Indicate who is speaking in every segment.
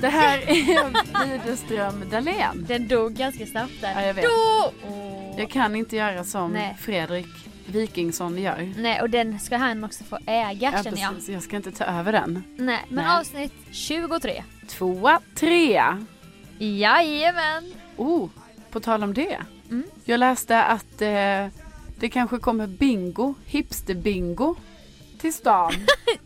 Speaker 1: Det här är Widerström Dahlén.
Speaker 2: Den dog ganska snabbt där.
Speaker 1: Ja, jag vet.
Speaker 2: Och...
Speaker 1: Jag kan inte göra som
Speaker 2: Nej.
Speaker 1: Fredrik Wikingsson gör.
Speaker 2: Nej, och den ska han också få äga känner jag.
Speaker 1: precis. Jag ska inte ta över den.
Speaker 2: Nej, men
Speaker 1: Nej.
Speaker 2: avsnitt 23.
Speaker 1: Tvåa, trea.
Speaker 2: Jajamän!
Speaker 1: Oh, på tal om det.
Speaker 2: Mm.
Speaker 1: Jag läste att eh, det kanske kommer bingo, hipster-bingo till stan.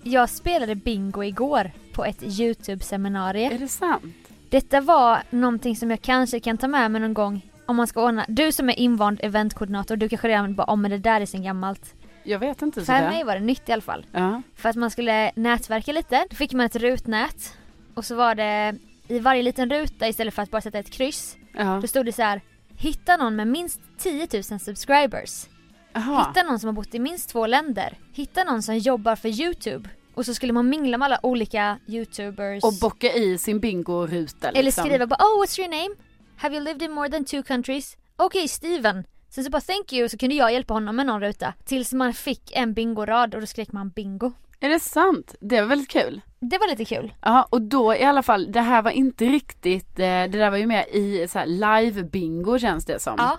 Speaker 2: Jag spelade bingo igår på ett Youtube-seminarium.
Speaker 1: är det sant?
Speaker 2: Detta var någonting som jag kanske kan ta med mig någon gång om man ska ordna. Du som är invand eventkoordinator, du kanske redan bara om men det där är sen gammalt.
Speaker 1: Jag vet inte.
Speaker 2: För
Speaker 1: Sofia.
Speaker 2: mig var det nytt i alla fall.
Speaker 1: Ja.
Speaker 2: För att man skulle nätverka lite, då fick man ett rutnät. Och så var det i varje liten ruta istället för att bara sätta ett kryss,
Speaker 1: Ja.
Speaker 2: då stod det så här Hitta någon med minst 10 000 subscribers.
Speaker 1: Jaha.
Speaker 2: Hitta någon som har bott i minst två länder. Hitta någon som jobbar för Youtube. Och så skulle man mingla med alla olika Youtubers.
Speaker 1: Och bocka i sin bingo-ruta. Liksom.
Speaker 2: Eller skriva bara oh what's your name? Have you lived in more than two countries? Okej Steven. Sen så bara thank you så kunde jag hjälpa honom med någon ruta. Tills man fick en bingorad och då skrek man bingo.
Speaker 1: Är det sant? Det var väldigt kul.
Speaker 2: Det var lite kul.
Speaker 1: Ja och då i alla fall, det här var inte riktigt, eh, det där var ju mer i så här live-bingo känns det som.
Speaker 2: Ja.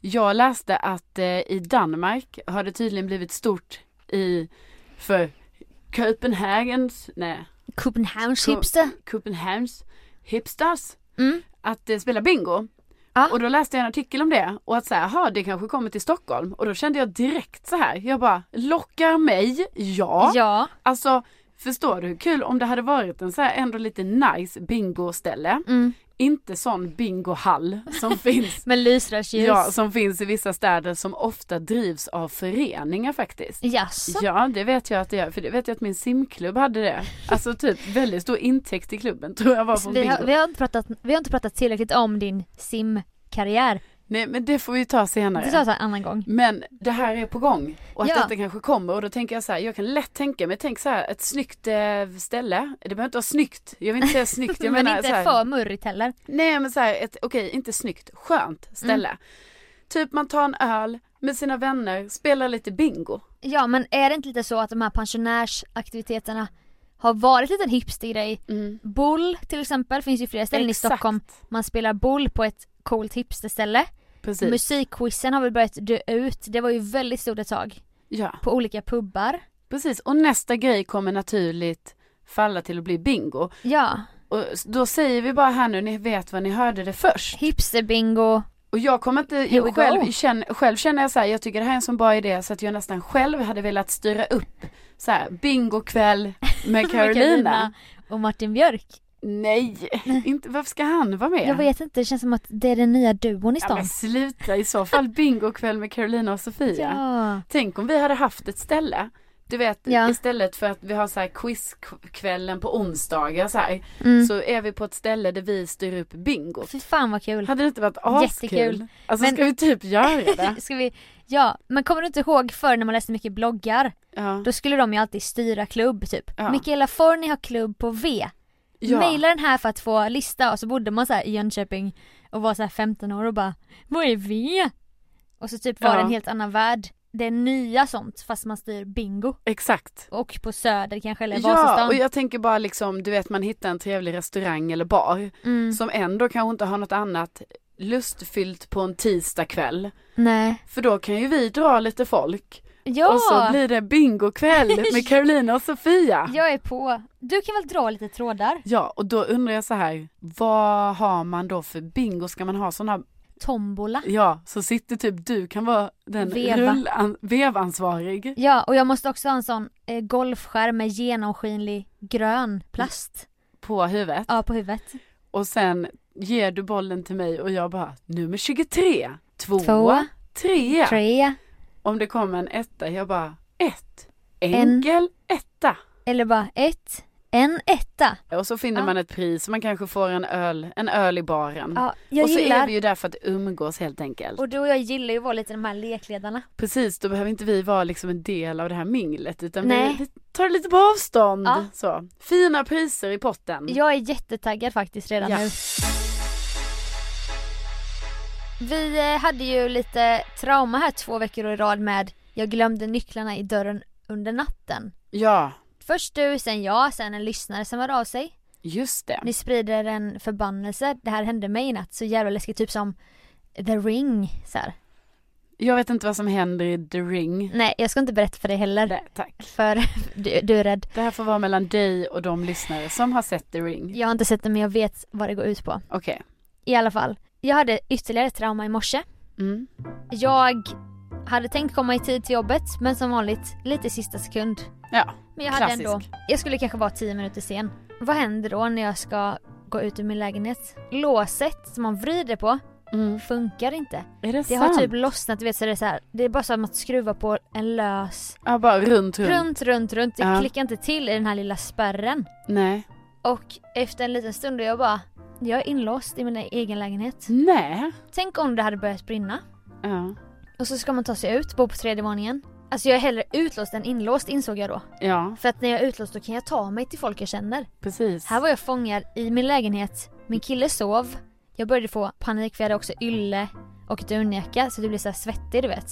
Speaker 1: Jag läste att eh, i Danmark har det tydligen blivit stort i, för Köpenhagens, nej,
Speaker 2: Copenhagens
Speaker 1: Co-
Speaker 2: hipster.
Speaker 1: Köpenhamns hipsters
Speaker 2: Mm.
Speaker 1: att eh, spela bingo.
Speaker 2: Ja.
Speaker 1: Och då läste jag en artikel om det och att så här, "Jaha, det kanske kommer till Stockholm. Och då kände jag direkt så här, jag bara, lockar mig, ja.
Speaker 2: Ja.
Speaker 1: Alltså, förstår du hur kul om det hade varit en så här ändå lite nice bingoställe.
Speaker 2: Mm.
Speaker 1: Inte sån bingohall som finns.
Speaker 2: Med lysrörsljus.
Speaker 1: Ja, som finns i vissa städer som ofta drivs av föreningar faktiskt.
Speaker 2: Jaså?
Speaker 1: Ja, det vet jag att det gör. För det vet jag att min simklubb hade det. Alltså typ väldigt stor intäkt i klubben tror jag var från
Speaker 2: Vi
Speaker 1: bingo.
Speaker 2: Alltså, har, vi, har inte pratat, vi har inte pratat tillräckligt om din simkarriär.
Speaker 1: Nej, men det får vi ta senare.
Speaker 2: Det tar vi en annan gång.
Speaker 1: Men det här är på gång och att
Speaker 2: Ja.
Speaker 1: detta kanske kommer och då tänker jag så här, jag kan lätt tänka mig, tänk så här, ett snyggt eh, ställe, det behöver inte vara snyggt, jag vill inte säga snyggt, jag
Speaker 2: men
Speaker 1: menar
Speaker 2: inte
Speaker 1: så här,
Speaker 2: för murrigt heller.
Speaker 1: Nej men så här, ett, okej inte snyggt, skönt ställe.
Speaker 2: Mm.
Speaker 1: Typ man tar en öl med sina vänner, spelar lite bingo.
Speaker 2: Ja men är det inte lite så att de här pensionärsaktiviteterna har varit lite en hipstergrej? Boll till exempel finns ju flera ställen i
Speaker 1: Exakt.
Speaker 2: Stockholm. Man spelar boll på ett coolt hipsterställe.
Speaker 1: Precis.
Speaker 2: Musikquizen har väl börjat dö ut. Det var ju väldigt stort ett tag.
Speaker 1: ja,
Speaker 2: På olika pubbar.
Speaker 1: precis. Och nästa grej kommer naturligt falla till att bli bingo.
Speaker 2: Ja,
Speaker 1: Och s- då säger vi bara här nu, ni vet vad ni hörde det först.
Speaker 2: hipsterbingo.
Speaker 1: Och jag kommer inte,
Speaker 2: we
Speaker 1: jag
Speaker 2: go.
Speaker 1: själv, känner, själv känner jag så här, jag tycker det här är en sån bra idé så att jag nästan själv hade velat styra upp så här, bingokväll med Carolina.
Speaker 2: Carolina Och Martin Björk.
Speaker 1: Nej, inte, varför ska han vara med?
Speaker 2: Jag vet inte, det känns som att det är den nya duon i
Speaker 1: Ja,
Speaker 2: stan.
Speaker 1: men sluta i så fall bingokväll med Carolina och Sofia.
Speaker 2: Ja.
Speaker 1: Tänk om vi hade haft ett ställe. Du vet
Speaker 2: Ja.
Speaker 1: istället för att vi har så här quizkvällen på onsdagar så här.
Speaker 2: Mm.
Speaker 1: Så är vi på ett ställe där vi styr upp bingo.
Speaker 2: Fy fan vad kul.
Speaker 1: Hade det inte varit askul?
Speaker 2: Jättekul.
Speaker 1: Alltså
Speaker 2: Men-
Speaker 1: ska vi typ göra det?
Speaker 2: Ska vi, ja, men kommer du inte ihåg förr när man läste mycket bloggar?
Speaker 1: Ja.
Speaker 2: Då skulle de ju alltid styra klubb typ.
Speaker 1: Ja.
Speaker 2: Mikaela Forni har klubb på V.
Speaker 1: Ja.
Speaker 2: Maila den här för att få lista och så bodde man så här i Jönköping och var så här 15 år och bara Vad är V? Och så typ var
Speaker 1: Ja.
Speaker 2: det en helt annan värld. Det är nya sånt fast man styr bingo.
Speaker 1: Exakt.
Speaker 2: Och på Söder kanske eller
Speaker 1: Ja,
Speaker 2: Vasastan.
Speaker 1: och jag tänker bara liksom, du vet man hittar en trevlig restaurang eller bar
Speaker 2: mm.
Speaker 1: som ändå kanske inte har något annat lustfyllt på en tisdagkväll.
Speaker 2: Nej.
Speaker 1: För då kan ju vi dra lite folk.
Speaker 2: Ja!
Speaker 1: Och så blir det bingokväll med Carolina och Sofia.
Speaker 2: Jag är på. Du kan väl dra lite trådar?
Speaker 1: Ja, och då undrar jag så här, vad har man då för bingo? Ska man ha sådana,
Speaker 2: Tombola.
Speaker 1: ja, så sitter typ du kan vara den
Speaker 2: Veva.
Speaker 1: rullan, vevansvarig.
Speaker 2: Ja, och jag måste också ha en sån eh, golfskärm med genomskinlig grön plast.
Speaker 1: på huvudet.
Speaker 2: Ja, på huvudet.
Speaker 1: Och sen ger du bollen till mig och jag bara, nummer 23, tvåa,
Speaker 2: Tvåa,
Speaker 1: trea.
Speaker 2: Tre.
Speaker 1: Om det kommer en etta, jag bara, ett,
Speaker 2: En.
Speaker 1: enkel etta.
Speaker 2: Eller bara ett. En etta.
Speaker 1: Och så finner
Speaker 2: Ja.
Speaker 1: man ett pris, man kanske får en öl, en öl i baren.
Speaker 2: Ja, jag
Speaker 1: Mm. och så är
Speaker 2: gillar.
Speaker 1: vi ju där för att umgås helt enkelt.
Speaker 2: Och du och jag gillar ju att vara lite de här lekledarna.
Speaker 1: Precis, då behöver inte vi vara liksom en del av det här minglet utan
Speaker 2: Nej.
Speaker 1: vi, vi tar lite på avstånd.
Speaker 2: Ja.
Speaker 1: Så. Fina priser i potten.
Speaker 2: Jag är jättetaggad faktiskt redan
Speaker 1: Mm. Ja.
Speaker 2: nu. Vi eh, hade ju lite trauma här två veckor i rad med jag glömde nycklarna i dörren under natten.
Speaker 1: Ja,
Speaker 2: Först du, sen jag, sen en lyssnare som hörde av sig.
Speaker 1: Just det.
Speaker 2: Ni sprider en förbannelse, det här hände mig i natt, så jävla läskigt, typ som The ring så här.
Speaker 1: Jag vet inte vad som händer i The Ring.
Speaker 2: Nej, jag ska inte berätta för dig heller.
Speaker 1: Nej, tack.
Speaker 2: För du, du är rädd.
Speaker 1: Det här får vara mellan dig och de lyssnare som har sett The Ring.
Speaker 2: Jag har inte sett det men jag vet vad det går ut på.
Speaker 1: Okej.
Speaker 2: I alla fall. Jag hade ytterligare ett trauma i morse.
Speaker 1: Mm.
Speaker 2: Jag hade tänkt komma i tid till jobbet men som vanligt lite i sista sekund.
Speaker 1: Ja,
Speaker 2: Men jag hade
Speaker 1: klassisk.
Speaker 2: ändå, jag skulle kanske vara 10 minuter sen. Vad händer då när jag ska gå ut ur min lägenhet? Låset som man vrider på
Speaker 1: Mm.
Speaker 2: funkar inte.
Speaker 1: Är det,
Speaker 2: Det
Speaker 1: sant?
Speaker 2: har typ lossnat, du vet så det är så här, det är bara som att skruva på en lös,
Speaker 1: Ja, bara runt, runt.
Speaker 2: runt, runt, runt. Det
Speaker 1: Ja.
Speaker 2: klickar inte till i den här lilla spärren.
Speaker 1: Nej.
Speaker 2: Och efter en liten stund är jag bara, jag är inlåst i min egen lägenhet.
Speaker 1: Mm. Nej.
Speaker 2: Tänk om det hade börjat brinna.
Speaker 1: Ja.
Speaker 2: Och så ska man ta sig ut, bo på tredje våningen. Alltså jag är hellre utlåst än inlåst insåg jag då.
Speaker 1: ja,
Speaker 2: För att när jag är utlåst då kan jag ta mig till folk jag känner.
Speaker 1: precis.
Speaker 2: Här var jag fångad i min lägenhet, min kille sov. Jag började få panik för jag hade också ylle och dunjacka så det blev så här svettig du vet.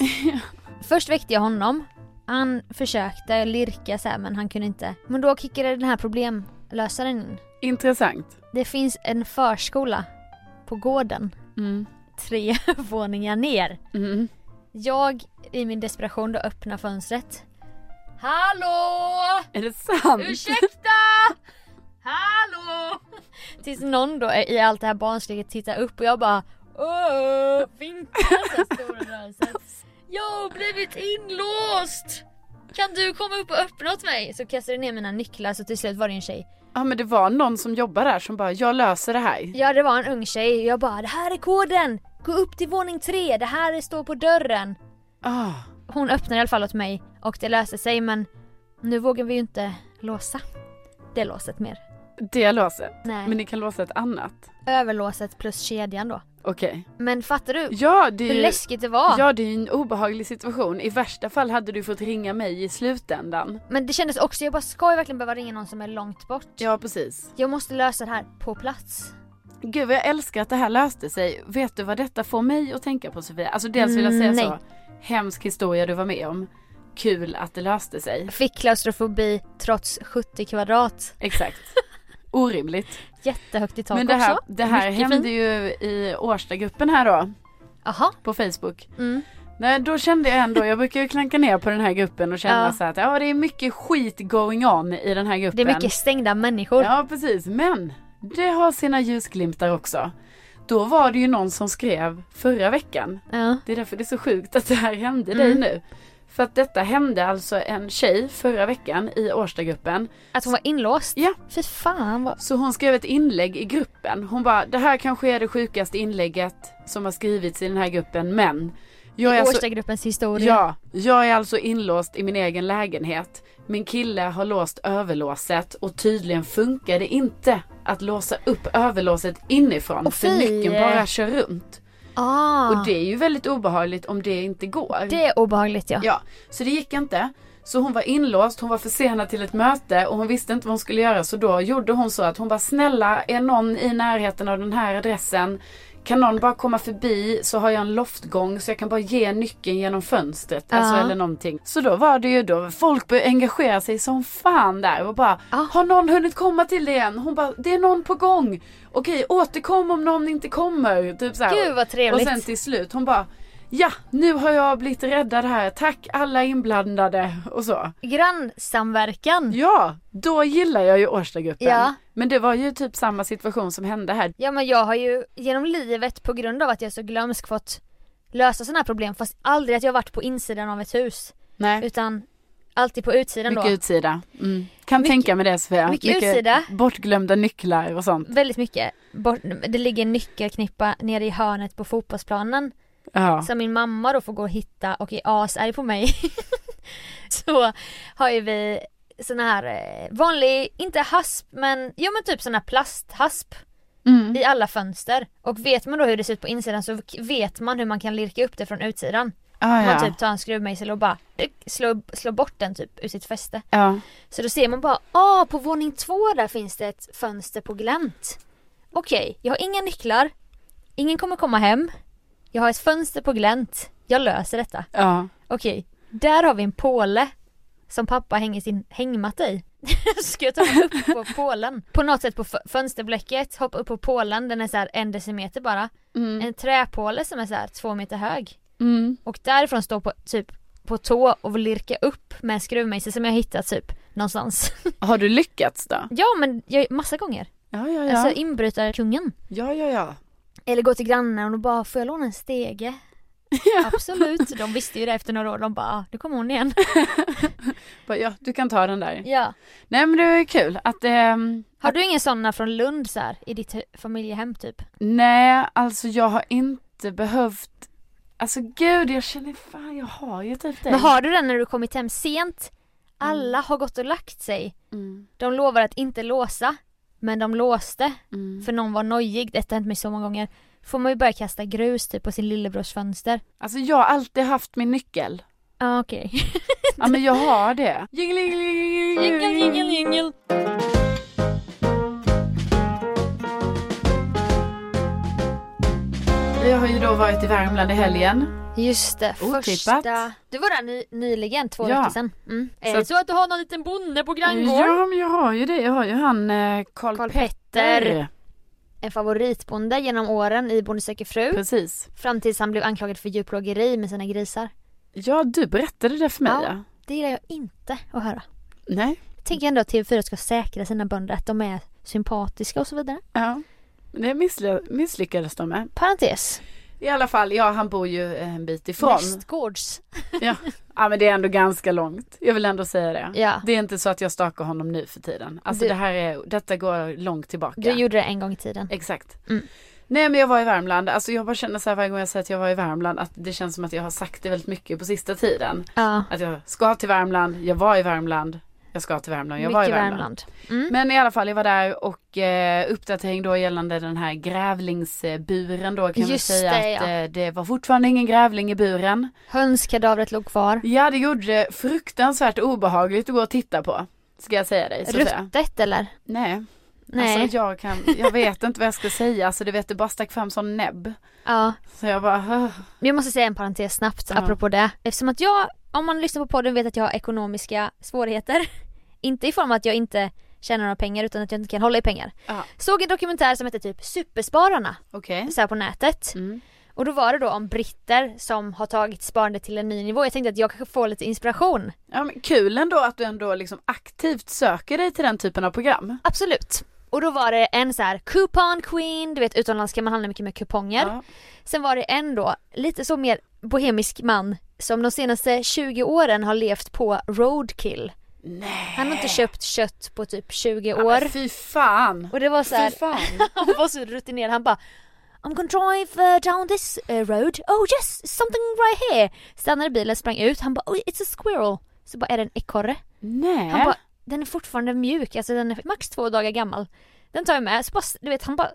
Speaker 2: Först väckte jag honom. Han försökte lirka så här, men han kunde inte. Men då kickade den här problemlösaren in.
Speaker 1: Intressant.
Speaker 2: Det finns en förskola på gården,
Speaker 1: Mm.
Speaker 2: tre våningar ner.
Speaker 1: Mm.
Speaker 2: Jag i min desperation då öppnar fönstret. Hallå!
Speaker 1: Är det sant?
Speaker 2: Ursäkta! Hallå! Tills någon då i allt det här barnsliga tittar upp och jag bara Åh, vinkar så här stora rörelsen. Jag har blivit inlåst! Kan du komma upp och öppna åt mig? Så kastade jag ner mina nycklar så till slut var det en tjej
Speaker 1: Ja, men det var någon som jobbar där som bara, jag löser det här.
Speaker 2: Ja det var en ung tjej och jag bara det här är koden! Gå upp till våning tre, det här står på dörren.
Speaker 1: Ah.
Speaker 2: Hon öppnade i alla fall åt mig och det löste sig men nu vågar vi ju inte låsa det låset mer.
Speaker 1: Det låset.
Speaker 2: Nej.
Speaker 1: Men ni kan låsa ett annat.
Speaker 2: Överlåset plus kedjan då.
Speaker 1: Okej.
Speaker 2: Men fattar du
Speaker 1: Ja, det är
Speaker 2: hur
Speaker 1: ju...
Speaker 2: läskigt det var?
Speaker 1: Ja, det är ju en obehaglig situation. I värsta fall hade du fått ringa mig i slutändan.
Speaker 2: Men det kändes också, jag bara ska jag verkligen behöva ringa någon som är långt bort?
Speaker 1: Ja, precis.
Speaker 2: Jag måste lösa det här på plats.
Speaker 1: Gud vad jag älskar att det här löste sig. Vet du vad detta får mig att tänka på Sofia? Alltså dels vill jag säga så,
Speaker 2: Mm,
Speaker 1: hemsk historia du var med om. Kul att det löste sig.
Speaker 2: Fick klaustrofobi trots 70 kvadrat.
Speaker 1: Exakt. Orimligt.
Speaker 2: Jättehögt i tak
Speaker 1: Men det här,
Speaker 2: också.
Speaker 1: det här
Speaker 2: Mycket
Speaker 1: hände ju i Årstagruppen här då,
Speaker 2: Aha.
Speaker 1: på Facebook.
Speaker 2: Mm.
Speaker 1: Nej, då kände jag ändå, jag brukar ju klanka ner på den här gruppen och känna
Speaker 2: Ja.
Speaker 1: så att ja det är mycket skit going on i den här gruppen.
Speaker 2: Det är mycket stängda människor.
Speaker 1: Ja precis, men det har sina ljusglimtar också. Då var det ju någon som skrev förra veckan
Speaker 2: Ja.
Speaker 1: Det är därför det är så sjukt att det här hände dig
Speaker 2: Mm.
Speaker 1: nu. För att detta hände alltså en tjej förra veckan i Årstagruppen.
Speaker 2: Att hon var inlåst?
Speaker 1: Ja.
Speaker 2: Fy fan vad...
Speaker 1: Så hon skrev ett inlägg i gruppen. Hon bara, det här kanske är det sjukaste inlägget som har skrivits i den här gruppen men jag är, alltså,
Speaker 2: Årstagruppens historia.
Speaker 1: ja, jag är alltså inlåst i min egen lägenhet. Min kille har låst överlåset och tydligen funkar det inte att låsa upp överlåset inifrån
Speaker 2: Åh,
Speaker 1: för
Speaker 2: fy.
Speaker 1: nyckeln bara kör runt.
Speaker 2: Ah,
Speaker 1: Och det är ju väldigt obehagligt om det inte går.
Speaker 2: det är obehagligt ja.
Speaker 1: Ja, så det gick inte. Så hon var inlåst, hon var försenad till ett möte och hon visste inte vad hon skulle göra så då gjorde hon så att hon bara snälla är någon i närheten av den här adressen kan någon bara komma förbi så har jag en loftgång så jag kan bara ge nyckeln genom fönstret. Alltså
Speaker 2: Ja.
Speaker 1: eller någonting. Så då var det ju då, folk började engagera sig som fan där och bara
Speaker 2: Ja.
Speaker 1: Har någon hunnit komma till det än? Hon bara det är någon på gång. Okej återkom om någon inte kommer. Typ så här.
Speaker 2: Gud vad
Speaker 1: Och
Speaker 2: trevligt.
Speaker 1: sen till slut hon bara Ja, nu har jag blivit räddad här. Tack alla inblandade och
Speaker 2: Mm.
Speaker 1: så.
Speaker 2: Grannsamverkan. Ja.
Speaker 1: Ja, då gillar jag ju Årstagruppen.
Speaker 2: Ja.
Speaker 1: Men det var ju typ samma situation som hände här.
Speaker 2: men jag har ju genom livet på grund av att jag är så glömsk fått lösa sådana här problem fast aldrig att jag varit på insidan av ett hus
Speaker 1: Nej,
Speaker 2: utan alltid på utsidan
Speaker 1: mycket
Speaker 2: då.
Speaker 1: utsida. Mm. Kan
Speaker 2: Mycket-
Speaker 1: tänka mig det Sofia.
Speaker 2: mycket utsida.
Speaker 1: Bortglömda nycklar och sånt.
Speaker 2: Väldigt mycket. Bort, det ligger en nyckelknippa nere i hörnet på fotbollsplanen
Speaker 1: Ja.
Speaker 2: som min mamma då får gå och hitta och är asarg på mig. så har ju vi sån här eh, vanlig, inte hasp men, jo men typ sån här plasthasp
Speaker 1: Mm.
Speaker 2: i alla fönster. Och vet man då hur det ser ut på insidan så k- vet man hur man kan lirka upp det från utsidan.
Speaker 1: Ah,
Speaker 2: Man
Speaker 1: ja.
Speaker 2: typ tar en skruvmejsel och bara dyk, slår, slår bort den typ ur sitt fäste.
Speaker 1: ja.
Speaker 2: Så då ser man bara, ah på våning två där finns det ett fönster på glänt. Okej, jag har inga nycklar. Ingen kommer komma hem. Jag har ett fönster på glänt. Jag löser detta.
Speaker 1: Ja.
Speaker 2: Okej, där har vi en påle som pappa hänger sin hängmatta i. ska jag ta mig upp på pålen. På något sätt på fö- fönsterblecket, hoppa upp på pålen, den är så här en decimeter bara.
Speaker 1: Mm.
Speaker 2: En träpåle som är så här två meter hög.
Speaker 1: Mm.
Speaker 2: Och därifrån stå på typ på tå och lirka upp med skruvmejsel som jag hittat typ någonstans.
Speaker 1: Har du lyckats då?
Speaker 2: ja men jag, massa gånger.
Speaker 1: Ja, ja, ja.
Speaker 2: Alltså inbrytarkungen.
Speaker 1: ja, ja, ja.
Speaker 2: Eller gå till grannen och bara, får jag låna en stege? Absolut, de visste ju det efter några år, de bara, ah, nu kommer hon igen.
Speaker 1: Bara, ja, du kan ta den där.
Speaker 2: ja.
Speaker 1: Nej men det är kul att ehm,
Speaker 2: Har du ingen sådana från Lund så här, i ditt hu- familjehem typ?
Speaker 1: Nej, alltså jag har inte behövt Alltså gud, jag känner fan, jag har ju typ det.
Speaker 2: Men har du den när du kommit hem sent? Alla har gått och lagt sig.
Speaker 1: Mm,
Speaker 2: De lovar att inte låsa. Men de låste,
Speaker 1: mm.
Speaker 2: för någon var nojig. Detta har hänt mig så många gånger. Får man ju börja kasta grus typ på sin lillebrors fönster.
Speaker 1: Alltså jag har alltid haft min nyckel.
Speaker 2: Ja okej.
Speaker 1: Ja men jag har det. Jingle, jingle, jingle, jingle,
Speaker 2: Jingel, jingel, jingel.
Speaker 1: Vi har ju då varit i Värmland i helgen.
Speaker 2: Just det,
Speaker 1: Otippat.
Speaker 2: första... Du var där ny, nyligen, två
Speaker 1: Ja.
Speaker 2: veckor sedan. Mm. Så... Är
Speaker 1: Så-
Speaker 2: det så att du har någon liten bonde på granngården?
Speaker 1: Ja men jag har ju det. Jag har ju han eh, Karl
Speaker 2: Karl
Speaker 1: Petter.
Speaker 2: Petter, en favoritbonde genom åren i Bonde söker fru.
Speaker 1: Precis.
Speaker 2: Fram tills han blev anklagad för djurplågeri med sina grisar.
Speaker 1: Ja du berättade det för mig
Speaker 2: Ja.
Speaker 1: ja.
Speaker 2: Det gillar jag inte att höra.
Speaker 1: Nej.
Speaker 2: tänker ändå att TV4 ska säkra sina bönder, att de är sympatiska och så vidare.
Speaker 1: Ja. Det missly- misslyckades de med.
Speaker 2: Parentes.
Speaker 1: I alla fall, ja han bor ju en bit ifrån.
Speaker 2: Västgårds.
Speaker 1: Ja men det är ändå ganska långt. Jag vill ändå säga det.
Speaker 2: Ja.
Speaker 1: Det är inte så att jag stakar honom nu för tiden. Alltså
Speaker 2: Du-
Speaker 1: det här är, detta går långt tillbaka.
Speaker 2: Du gjorde det en gång i tiden.
Speaker 1: Exakt.
Speaker 2: Mm.
Speaker 1: Nej men jag var i Värmland, alltså jag bara känner så här varje gång jag säger att jag var i Värmland att det känns som att jag har sagt det väldigt mycket på sista tiden.
Speaker 2: Ja.
Speaker 1: Att jag ska till Värmland, jag var i Värmland, jag ska till Värmland, jag
Speaker 2: Mycket
Speaker 1: var i Värmland.
Speaker 2: Värmland. Mm.
Speaker 1: Men i alla fall jag var där och eh, uppdatering då gällande den här grävlingsburen då kan vi
Speaker 2: Just
Speaker 1: säga
Speaker 2: det,
Speaker 1: att
Speaker 2: ja.
Speaker 1: eh, det var fortfarande ingen grävling i buren.
Speaker 2: Hönskadavret låg kvar.
Speaker 1: Ja det gjorde det fruktansvärt obehagligt att gå och titta på. Ska jag säga dig Sofia?
Speaker 2: Ruttet eller?
Speaker 1: Nej.
Speaker 2: Nej.
Speaker 1: Alltså jag kan, jag vet inte vad jag ska säga, alltså du vet det bara stack fram sån näbb.
Speaker 2: Ja.
Speaker 1: Så jag bara, "Åh."
Speaker 2: Men Jag måste säga en parentes snabbt
Speaker 1: Ja.
Speaker 2: apropå det. Eftersom att jag, om man lyssnar på podden vet att jag har ekonomiska svårigheter. inte i form av att jag inte tjänar några pengar utan att jag inte kan hålla i pengar.
Speaker 1: Ja.
Speaker 2: Såg en dokumentär som hette typ Superspararna,
Speaker 1: okej.
Speaker 2: så här på nätet.
Speaker 1: Mm.
Speaker 2: Och då var det då om britter som har tagit sparande till en ny nivå. Jag tänkte att jag kanske får lite inspiration.
Speaker 1: Ja men kul ändå att du ändå liksom aktivt söker dig till den typen av program.
Speaker 2: Absolut. Och då var det en så här coupon queen, du vet utomlands kan man handla mycket med kuponger.
Speaker 1: Ja.
Speaker 2: Sen var det en då, lite så mer bohemisk man som de senaste 20 åren har levt på roadkill.
Speaker 1: Nej.
Speaker 2: Han har inte köpt kött på typ 20
Speaker 1: Äh. Ja,
Speaker 2: år.
Speaker 1: men fy fan.
Speaker 2: Och det var så här,
Speaker 1: Fy fan.
Speaker 2: han var så rutinerad, han bara I'm gonna drive uh, down this uh, road, oh yes, something right here. Stannade bilen, sprang ut, han bara oh it's a squirrel. Så bara är det en ekorre.
Speaker 1: Nej.
Speaker 2: Han bara, den är fortfarande mjuk, alltså den är max två dagar gammal. Den tar jag med. Så bara, du vet, han bara,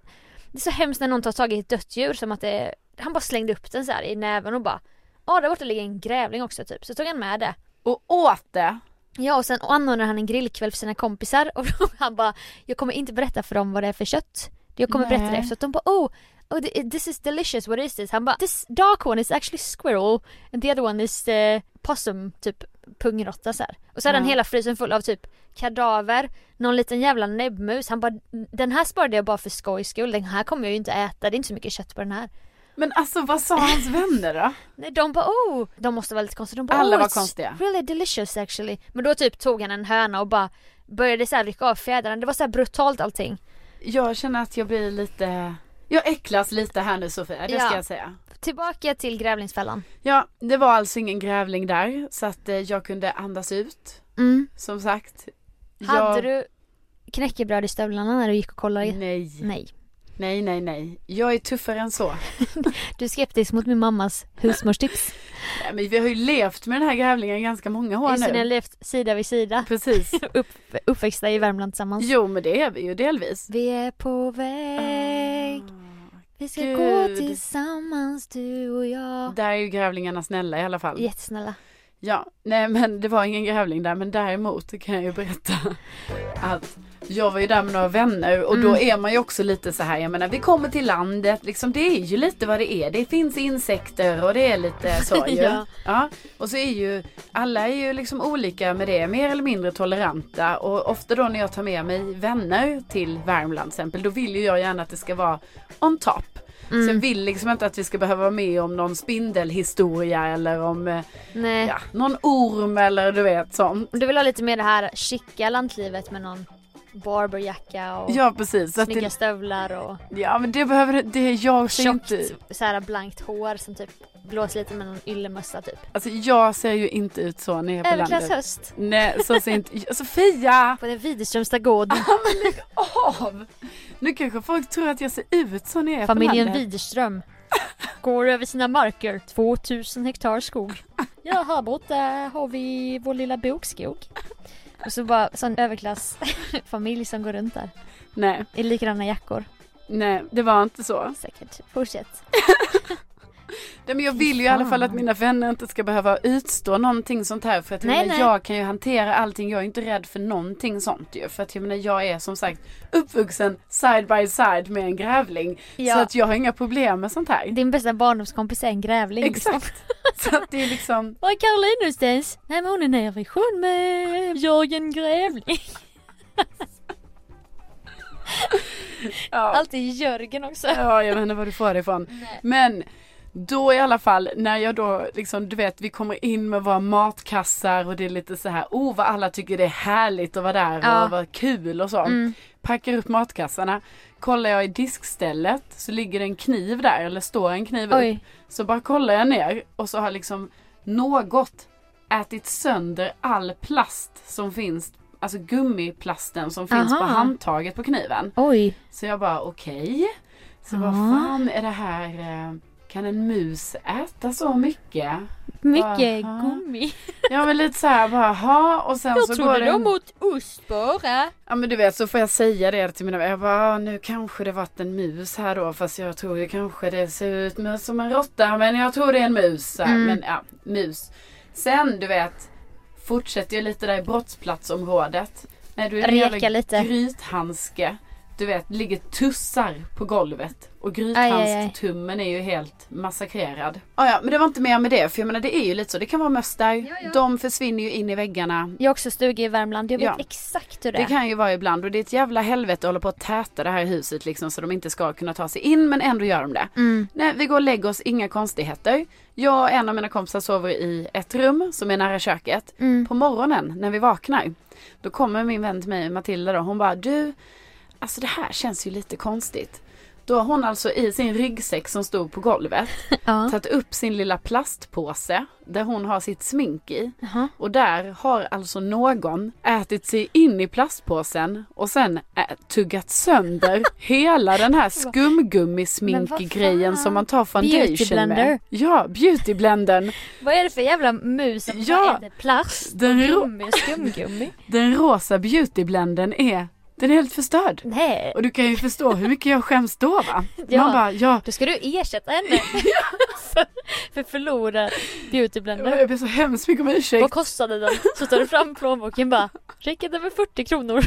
Speaker 2: det är så hemskt när någon tar tag i ett dött djur som att det, han bara slängde upp den så här i näven och bara, ja där borta ligger en grävling också typ. Så tog han med det.
Speaker 1: Och åt det.
Speaker 2: Ja och sen anordnade han en grillkväll för sina kompisar och han bara, jag kommer inte berätta för dem vad det är för kött. Jag kommer berätta det
Speaker 1: Nej.
Speaker 2: efteråt. De bara, oh, oh th- this is delicious, what is this? Han bara, this dark one is actually squirrel and the other one is eh, possum, typ pungrotta så här. Och så hade
Speaker 1: Ja.
Speaker 2: han hela frysen full av typ kadaver, någon liten jävla näbbmus. Han bara, den här sparade jag bara för skojs skull, den här kommer jag ju inte äta, det är inte så mycket kött på den här.
Speaker 1: Men alltså vad sa hans vänner då?
Speaker 2: Nej, de bara oh, de måste vara lite konstiga. De bara,
Speaker 1: Alla
Speaker 2: oh,
Speaker 1: var
Speaker 2: it's
Speaker 1: konstiga.
Speaker 2: Really delicious actually. Men då typ tog han en höna och bara började så här rycka av fjädrarna. Det var så här brutalt allting.
Speaker 1: Jag känner att jag blir lite, jag äcklas lite här nu Sofia, det ska
Speaker 2: Ja.
Speaker 1: jag säga.
Speaker 2: Tillbaka till Grävlingsfällan.
Speaker 1: Ja, det var alltså ingen grävling där så att eh, jag kunde andas ut.
Speaker 2: Mm.
Speaker 1: Som sagt.
Speaker 2: Hade
Speaker 1: jag...
Speaker 2: du knäckebröd i stövlarna när du gick och kollade?
Speaker 1: Nej.
Speaker 2: Nej.
Speaker 1: Nej, nej, nej. Jag är tuffare än så.
Speaker 2: Du är skeptisk mot min mammas husmorstips.
Speaker 1: Nej, men vi har ju levt med den här grävlingen ganska många år
Speaker 2: Just det, ni har
Speaker 1: nu.
Speaker 2: levt sida vid sida.
Speaker 1: Precis.
Speaker 2: Uppväxta i Värmland tillsammans.
Speaker 1: Jo, men det är vi ju delvis.
Speaker 2: Vi är på väg. Vi ska
Speaker 1: Gud.
Speaker 2: gå tillsammans du och jag.
Speaker 1: Där är ju grävlingarna snälla i alla fall.
Speaker 2: Jättesnälla.
Speaker 1: Ja, nej men det var ingen grävling där men däremot kan jag ju berätta att Jag var ju där med några vänner och då är man ju också lite så här, jag menar vi kommer till landet liksom, det är ju lite vad det är. Det finns insekter och det är lite så ju.
Speaker 2: Ja.
Speaker 1: ja. Och så är ju, alla är ju liksom olika med det, mer eller mindre toleranta och ofta då när jag tar med mig vänner till Värmland till exempel, då vill ju jag gärna att det ska vara on top. Så
Speaker 2: Mm.
Speaker 1: jag vill liksom inte att vi ska behöva vara med om någon spindelhistoria eller om eh,
Speaker 2: Nej.
Speaker 1: ja, någon orm eller du vet sånt.
Speaker 2: Du vill ha lite mer det här chicka lantlivet med någon barberjacka och
Speaker 1: Ja precis. Så att
Speaker 2: snygga
Speaker 1: det,
Speaker 2: stövlar och
Speaker 1: ja men det behöver det är jag ser
Speaker 2: tjockt
Speaker 1: inte.
Speaker 2: så här blankt hår som typ blåser lite med någon yllemössa typ.
Speaker 1: Alltså jag ser ju inte ut så när jag är på
Speaker 2: Överklass
Speaker 1: landet.
Speaker 2: höst
Speaker 1: Nej så ser inte Sofia!
Speaker 2: på den Widerströmsta gård.
Speaker 1: Av! Nu kanske folk tror att jag ser ut så när jag är på
Speaker 2: Familjen
Speaker 1: landet.
Speaker 2: Widerström går över sina marker. 2000 hektar skog. Ja, här borta har vi vår lilla bokskog. Och så bara sån överklassfamilj som går runt där
Speaker 1: Nej,
Speaker 2: i likadana jackor.
Speaker 1: nej det var inte så.
Speaker 2: Säkert. Fortsätt.
Speaker 1: Nej, men jag
Speaker 2: Fy
Speaker 1: vill ju i alla
Speaker 2: fan.
Speaker 1: fall att mina vänner inte ska behöva utstå någonting sånt här för att jag,
Speaker 2: Nej,
Speaker 1: menar,
Speaker 2: nej.
Speaker 1: jag kan ju hantera allting. Jag är inte rädd för någonting sånt ju. För att jag menar jag är som sagt uppvuxen side by side med en grävling. Så
Speaker 2: Ja,
Speaker 1: att jag har inga problem med sånt här.
Speaker 2: din bästa barndomskompis är en grävling. liksom.
Speaker 1: Exakt. så att det är liksom
Speaker 2: Var är Caroline någonstans? Nej men hon är nere i sjön med Jörgen Grävling.
Speaker 1: ja.
Speaker 2: Alltid Jörgen också.
Speaker 1: Ja, jag vet inte var du får det ifrån. Men då i alla fall när jag då liksom, du vet, vi kommer in med våra matkassar och det är lite så här, oh vad alla tycker det är härligt att vara där
Speaker 2: Ja.
Speaker 1: och vad kul och så.
Speaker 2: Mm.
Speaker 1: Packar upp matkassarna. Kollar jag i diskstället så ligger det en kniv där, eller står en kniv upp.
Speaker 2: Oj,
Speaker 1: Så bara kollar jag ner och så har liksom något ätit sönder all plast som finns, alltså gummiplasten som finns på
Speaker 2: Aha.
Speaker 1: handtaget på kniven.
Speaker 2: oj.
Speaker 1: Så jag bara okej. Så
Speaker 2: Ja.
Speaker 1: vad fan är det här? eh, Kan en mus äta så mycket?
Speaker 2: Mycket
Speaker 1: Aha.
Speaker 2: gummi.
Speaker 1: Ja men lite så här bara ha och sen så går det...
Speaker 2: åt ost bara.
Speaker 1: Ja men du vet så får jag säga det till mina vänner. Jag bara ah, nu kanske det varit en mus här då fast jag tror det kanske det ser ut mer som en råtta men jag tror det är en mus. Så här.
Speaker 2: Mm.
Speaker 1: Men ja, mus. Sen du vet fortsätter jag lite där i brottsplatsområdet. Nej, du är det en jävla
Speaker 2: Reka lite.
Speaker 1: Grythandske. Du vet, ligger tussar på golvet. Och
Speaker 2: aj, aj.
Speaker 1: grythandstummen är ju helt massakrerad. Ah, ja, men det var inte mer med det. För jag menar det är ju lite så. Det kan vara möss där.
Speaker 2: ja.
Speaker 1: De försvinner ju in i väggarna.
Speaker 2: Jag har också stuga i Värmland. Jag vet
Speaker 1: Ja.
Speaker 2: exakt hur det,
Speaker 1: Det
Speaker 2: är.
Speaker 1: kan ju vara ibland och det är ett jävla helvete att hålla på att täta det här huset liksom så de inte ska kunna ta sig in men ändå gör de det.
Speaker 2: Mm.
Speaker 1: Nej, vi går och lägger oss, inga konstigheter. Jag och en av mina kompisar sover i ett rum som är nära köket.
Speaker 2: Mm.
Speaker 1: På morgonen när vi vaknar, då kommer min vän till mig, Matilda då, hon bara du, alltså det här känns ju lite konstigt. Då har hon alltså i sin ryggsäck som stod på golvet
Speaker 2: Ja.
Speaker 1: tagit upp sin lilla plastpåse där hon har sitt smink i.
Speaker 2: Jaha.
Speaker 1: Och där har alltså någon ätit sig in i plastpåsen och sen ä- tuggat sönder hela den här
Speaker 2: Men
Speaker 1: skumgummisminkgrejen
Speaker 2: vad fan?
Speaker 1: som man tar foundation
Speaker 2: Beautyblender.
Speaker 1: med. Ja, beautyblendern.
Speaker 2: Vad är det för jävla mus som
Speaker 1: Ja.
Speaker 2: äter plast?
Speaker 1: Den
Speaker 2: och
Speaker 1: ro-
Speaker 2: gummi och skumgummi.
Speaker 1: Den rosa beautyblendern är, den är helt förstörd.
Speaker 2: Nej,
Speaker 1: Och du kan ju förstå hur mycket jag skäms då va?
Speaker 2: Ja.
Speaker 1: Man bara, ja,
Speaker 2: då ska du ersätta henne. för, för förlorad beautyblender.
Speaker 1: jag ber så hemskt mycket om
Speaker 2: Vad
Speaker 1: ursäkt.
Speaker 2: kostade den? Så tar du fram plånboken bara Räcker det med 40 kronor?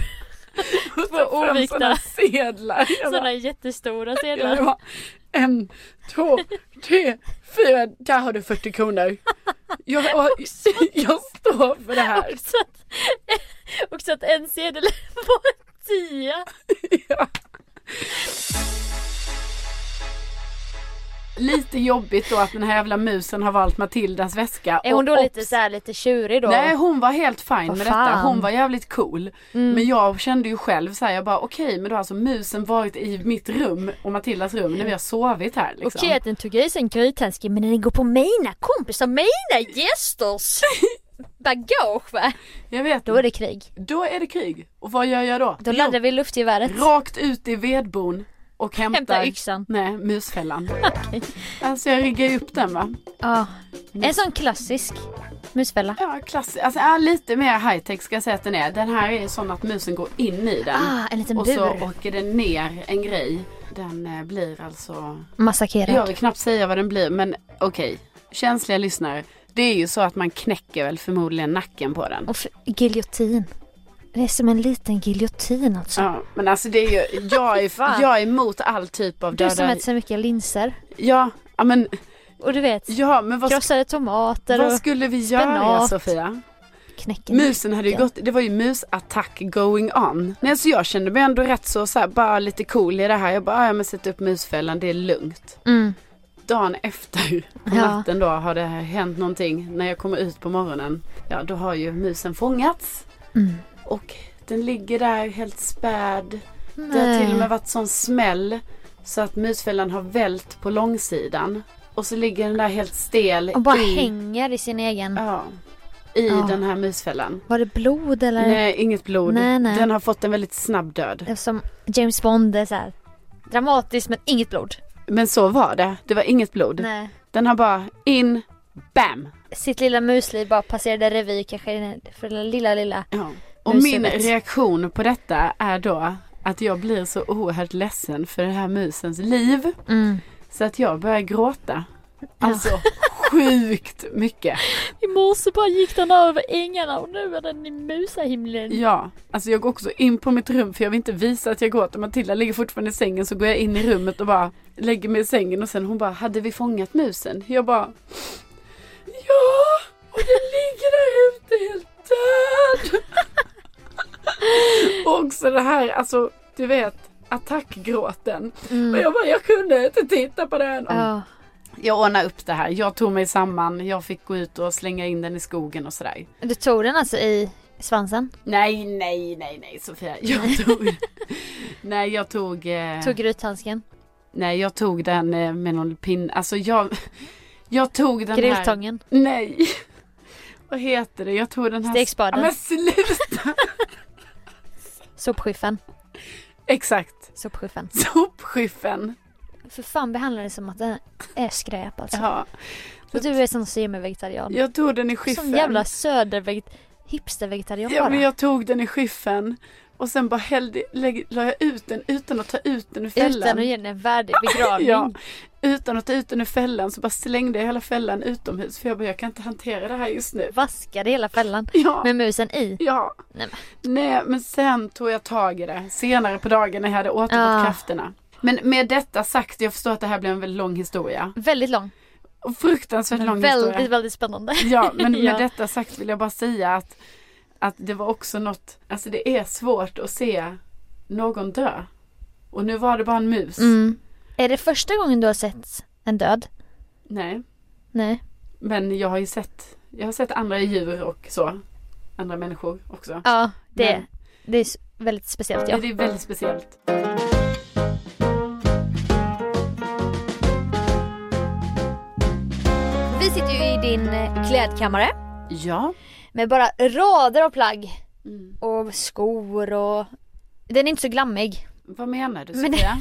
Speaker 1: Ta fram
Speaker 2: ovikta.
Speaker 1: såna sedlar. Jag bara,
Speaker 2: Sådana jättestora
Speaker 1: Ja, det
Speaker 2: sedlar.
Speaker 1: var en, två, tre, fyra. Där har du 40 kronor. Jag, jag, jag står för det här.
Speaker 2: Och så att, och så att en sedel var en tia.
Speaker 1: Ja. Lite jobbigt då att den här jävla musen har valt Matildas väska.
Speaker 2: Är hon
Speaker 1: Och-
Speaker 2: då
Speaker 1: och-
Speaker 2: lite så här, lite tjurig då?
Speaker 1: Nej hon var helt fin
Speaker 2: Vad
Speaker 1: med detta.
Speaker 2: fan.
Speaker 1: Hon var jävligt cool.
Speaker 2: Mm.
Speaker 1: Men jag kände ju själv så här, jag bara okej men då har alltså musen varit i mitt rum och Matildas rum när vi har sovit här liksom.
Speaker 2: Okej att den tog i sig en grythandske men den går på mina kompisar, mina gästers bagage va?
Speaker 1: Jag vet.
Speaker 2: Då är det krig.
Speaker 1: Då är det krig. Och vad gör jag då?
Speaker 2: Då
Speaker 1: Jo,
Speaker 2: laddar vi luftgeväret,
Speaker 1: Rakt ut i vedbon och hämtar
Speaker 2: hämtar yxan.
Speaker 1: Nej, musfällan. Alltså jag riggar ju upp den va.
Speaker 2: Ja. En sån klassisk musfälla.
Speaker 1: Ja, klass. Alltså ja, lite mer high tech ska jag säga att den är. Den här är ju sån att musen går in i den.
Speaker 2: Ah, en liten
Speaker 1: och så
Speaker 2: bur.
Speaker 1: åker den ner en grej. Den eh, blir alltså, jag
Speaker 2: Massakrerad.
Speaker 1: vill knappt säga vad den blir men okej. Känsliga lyssnare. Det är ju så att man knäcker väl förmodligen nacken på den.
Speaker 2: Och f- giljotin. Det är som en liten giljotin alltså.
Speaker 1: Ja, men alltså det är ju, jag är,
Speaker 2: Fan.
Speaker 1: jag är emot all typ av
Speaker 2: Du som
Speaker 1: döda.
Speaker 2: äter så mycket linser.
Speaker 1: Ja, ja, men,
Speaker 2: Och du vet,
Speaker 1: ja, men vad, sk-
Speaker 2: krossade tomater
Speaker 1: vad
Speaker 2: och
Speaker 1: skulle vi göra
Speaker 2: spenat.
Speaker 1: Sofia?
Speaker 2: knäcken.
Speaker 1: Musen hade ju
Speaker 2: nacken.
Speaker 1: gått, det var ju musattack going on. Nej, så jag kände mig ändå rätt så, så här, bara lite cool i det här. Jag bara, "Ah, ja men sätt upp musfällan, det är lugnt.
Speaker 2: Mm.
Speaker 1: Dagen efter på
Speaker 2: Ja.
Speaker 1: natten då har det här hänt någonting. När jag kommer ut på morgonen, ja då har ju musen fångats.
Speaker 2: Mm.
Speaker 1: Och den ligger där helt späd. Det har
Speaker 2: Nej.
Speaker 1: till och med varit sån smäll så att musfällan har vält på långsidan. Och så ligger den där helt stel
Speaker 2: Och bara
Speaker 1: i,
Speaker 2: hänger i sin egen.
Speaker 1: ja, i
Speaker 2: Ja.
Speaker 1: den här musfällan.
Speaker 2: Var det blod eller?
Speaker 1: Nej, inget blod.
Speaker 2: Nej, nej.
Speaker 1: Den har fått en väldigt snabb död.
Speaker 2: Det var som James Bond, det är så här. Dramatiskt men inget blod.
Speaker 1: Men så var det. Det var inget blod.
Speaker 2: Nej.
Speaker 1: Den har bara in, bam.
Speaker 2: Sitt lilla musliv bara passerade revy kanske i den- för den lilla lilla.
Speaker 1: Ja. Och
Speaker 2: Musen
Speaker 1: min
Speaker 2: vet.
Speaker 1: reaktion på detta är då att jag blir så oerhört ledsen för den här musens liv.
Speaker 2: Mm.
Speaker 1: Så att jag börjar gråta. Alltså sjukt mycket.
Speaker 2: I morse bara gick den över ängarna och nu är den i musahimlen.
Speaker 1: Ja, alltså jag går också in på mitt rum för jag vill inte visa att jag gråter. Matilda ligger fortfarande i sängen så går jag in i rummet och bara lägger mig i sängen och sen hon bara, hade vi fångat musen? Jag bara, ja! Och den ligger där ute helt död! och också det här, alltså du vet attackgråten. Och
Speaker 2: Mm.
Speaker 1: jag bara, jag kunde inte titta på den.
Speaker 2: Ja.
Speaker 1: Jag ordnade upp det här, jag tog mig samman, jag fick gå ut och slänga in den i skogen och sådär.
Speaker 2: Du tog den alltså i svansen?
Speaker 1: Nej, nej, nej, nej Sofia. Jag tog... nej, jag tog... Eh...
Speaker 2: Tog grythandsken?
Speaker 1: Nej, jag tog den eh, med någon pin... Alltså jag... Jag tog den här...
Speaker 2: Grilltången?
Speaker 1: Nej. Vad heter det? Jag tog den här...
Speaker 2: Stekspaden?
Speaker 1: Ja, men sluta!
Speaker 2: Sopskyffen?
Speaker 1: Exakt.
Speaker 2: Sopskyffen?
Speaker 1: Sopskyffen.
Speaker 2: För fan behandlar det som att den är skräp alltså.
Speaker 1: Ja.
Speaker 2: Och du är sån semivegetarian.
Speaker 1: Jag tog den i skyffen.
Speaker 2: Sån jävla söderveget... Hipstervegetarian
Speaker 1: Ja, men
Speaker 2: bara.
Speaker 1: jag tog den i skyffen. Och sen bara hällde, lägg, la jag ut den utan att ta ut den ur fällan.
Speaker 2: Utan att ge den en värdig begravning.
Speaker 1: Ja, utan att ta ut den ur fällan så bara slängde jag hela fällan utomhus för jag bara, jag kan inte hantera det här just nu.
Speaker 2: Vaskade hela fällan.
Speaker 1: Ja,
Speaker 2: Med musen i.
Speaker 1: ja.
Speaker 2: Nej,
Speaker 1: Nej, men sen tog jag tag i det senare på dagen när jag hade återfått
Speaker 2: Ah.
Speaker 1: krafterna. Men med detta sagt, jag förstår att det här blev en väldigt lång historia.
Speaker 2: Väldigt lång.
Speaker 1: Och fruktansvärt lång
Speaker 2: Väldigt,
Speaker 1: historia.
Speaker 2: väldigt spännande.
Speaker 1: Ja, men med
Speaker 2: Ja.
Speaker 1: detta sagt vill jag bara säga att, att det var också något, alltså det är svårt att se någon dö. Och nu var det bara en mus.
Speaker 2: Mm. Är det första gången du har sett en död?
Speaker 1: Nej.
Speaker 2: Nej.
Speaker 1: Men jag har ju sett, jag har sett andra djur och så. Andra människor också.
Speaker 2: Ja, det,
Speaker 1: Men-
Speaker 2: det är s- väldigt speciellt ja.
Speaker 1: Det är väldigt speciellt.
Speaker 2: Vi sitter ju i din eh, klädkammare
Speaker 1: Ja.
Speaker 2: med bara rader av plagg
Speaker 1: Mm.
Speaker 2: och skor och den är inte så glammig.
Speaker 1: Vad menar du
Speaker 2: Men det-
Speaker 1: Sofia?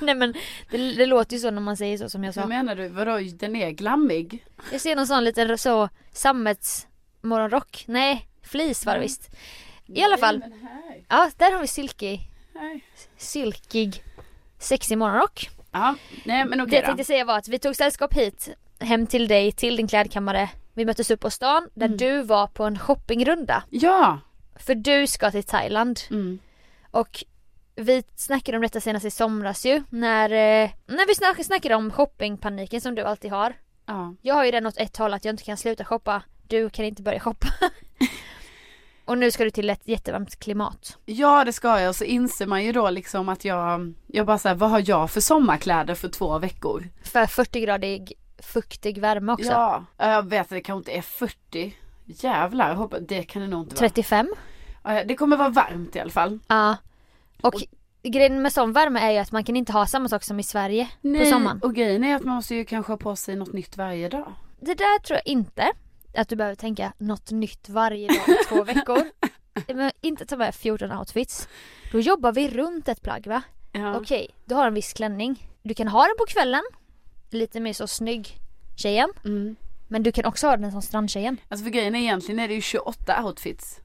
Speaker 2: Nej men det, det låter ju så när man säger så som jag
Speaker 1: Vad
Speaker 2: sa.
Speaker 1: menar du? Vadå, den är glammig?
Speaker 2: Jag ser någon sån liten så sammetsmorgonrock. Nej, flis var det
Speaker 1: Mm.
Speaker 2: visst. I alla fall.
Speaker 1: Nej, men här.
Speaker 2: Ja, där har vi silkig,
Speaker 1: Nej.
Speaker 2: silkig, sexig morgonrock.
Speaker 1: Ja, nej men
Speaker 2: Det
Speaker 1: okej
Speaker 2: jag
Speaker 1: då.
Speaker 2: tänkte säga var att vi tog sällskap hit, hem till dig, till din klädkammare. Vi möttes upp på stan där
Speaker 1: Mm.
Speaker 2: du var på en shoppingrunda.
Speaker 1: Ja.
Speaker 2: För du ska till Thailand.
Speaker 1: Mm.
Speaker 2: Och vi snackade om detta senast i somras ju. När, eh, när vi snack, snackade om shoppingpaniken som du alltid har.
Speaker 1: Ja.
Speaker 2: Jag har ju den åt ett håll att jag inte kan sluta shoppa. Du kan inte börja shoppa. och nu ska du till ett jättevarmt klimat.
Speaker 1: ja, det ska jag. Och så inser man ju då liksom att jag, jag bara säger vad har jag för sommarkläder för två veckor?
Speaker 2: För 40-gradig fuktig värme också.
Speaker 1: Ja, jag vet att det kanske inte är 40. Jävlar, jag hoppas, det kan det nog inte vara.
Speaker 2: 35.
Speaker 1: Ja, Det kommer vara varmt i alla fall.
Speaker 2: Ja. Och, grejen med sån värme är ju att man kan inte ha samma sak som i Sverige på sommaren.
Speaker 1: och grejen är att man måste ju kanske ha på sig något nytt varje dag.
Speaker 2: Det där tror jag inte att du behöver tänka något nytt varje dag i två veckor. Men inte ta med 14 outfits. Då jobbar vi runt ett plagg va?
Speaker 1: Ja.
Speaker 2: Okej, du har en viss klänning. Du kan ha den på kvällen. Lite mer så snygg tjejen.
Speaker 1: Mm.
Speaker 2: Men du kan också ha den som strandtjejen.
Speaker 1: Alltså för grejen är egentligen är det ju 28 outfits.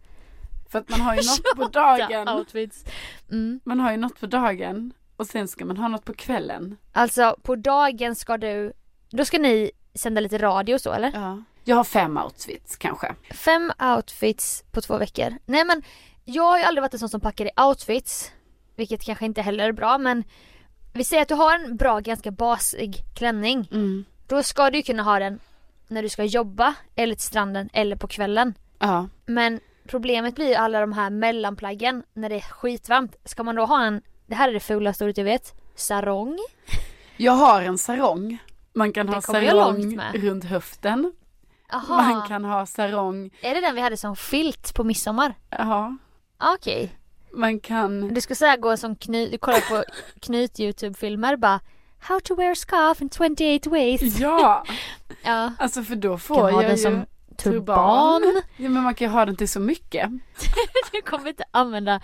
Speaker 1: För att man har ju något på dagen.
Speaker 2: outfits. Mm.
Speaker 1: Man har ju något på dagen. Och sen ska man ha något på kvällen.
Speaker 2: Alltså på dagen ska du, då ska ni sända lite radio och så eller?
Speaker 1: Ja. Jag har fem outfits kanske.
Speaker 2: Fem outfits på två veckor. Nej men Jag har ju aldrig varit en sån som packar i outfits. Vilket kanske inte heller är bra men vi säger att du har en bra, ganska basig klänning.
Speaker 1: Mm.
Speaker 2: Då ska du ju kunna ha den när du ska jobba eller till stranden eller på kvällen.
Speaker 1: Ja.
Speaker 2: Men problemet blir ju alla de här mellanplaggen när det är skitvarmt. Ska man då ha en, det här är det fulaste ordet jag vet, sarong?
Speaker 1: Jag har en sarong. Man kan
Speaker 2: Det
Speaker 1: ha
Speaker 2: kommer jag långt
Speaker 1: sarong
Speaker 2: med.
Speaker 1: runt höften.
Speaker 2: Aha.
Speaker 1: Man kan ha sarong,
Speaker 2: Är det den vi hade som filt på midsommar?
Speaker 1: ja.
Speaker 2: Okej.
Speaker 1: Man kan,
Speaker 2: Du ska säga gå som knyt, du kollar på knyt YouTube-filmer bara How to wear scarf in 28 ways.
Speaker 1: ja.
Speaker 2: Ja.
Speaker 1: Alltså för då får
Speaker 2: Kan ha
Speaker 1: jag
Speaker 2: den
Speaker 1: ju
Speaker 2: som turban.
Speaker 1: turban. Ja, men man kan ju ha den till så mycket.
Speaker 2: Du kommer inte använda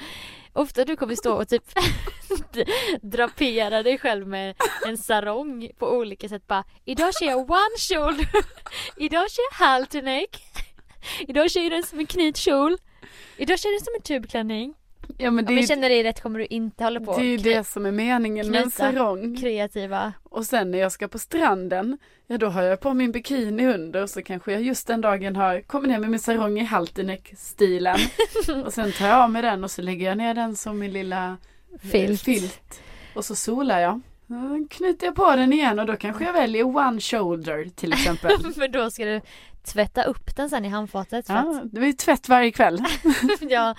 Speaker 2: Ofta du kommer stå och typ drapera dig själv med en sarong på olika sätt bara Idag kör jag one kjol Idag kör jag halterneck Idag kör jag den som en knytkjol Idag kör jag den som en tubklänning
Speaker 1: Ja men det
Speaker 2: Om
Speaker 1: är
Speaker 2: jag känner dig rätt kommer du inte hålla på
Speaker 1: det, är ju
Speaker 2: och
Speaker 1: det som är meningen med en
Speaker 2: knyta.
Speaker 1: sarong.
Speaker 2: kreativa
Speaker 1: Och sen när jag ska på stranden, ja då har jag på min bikini under och så kanske jag just den dagen har kommit ner med min sarong i Haltinek-stilen. och sen tar jag av mig den och så lägger jag ner den som min lilla eh,
Speaker 2: filt.
Speaker 1: filt. Och så solar jag. Sen knyter jag på den igen och då kanske jag väljer one shoulder till exempel.
Speaker 2: För då ska du tvätta upp den sen i handfatet. För
Speaker 1: ja, det var ju tvätt varje kväll.
Speaker 2: att, ja,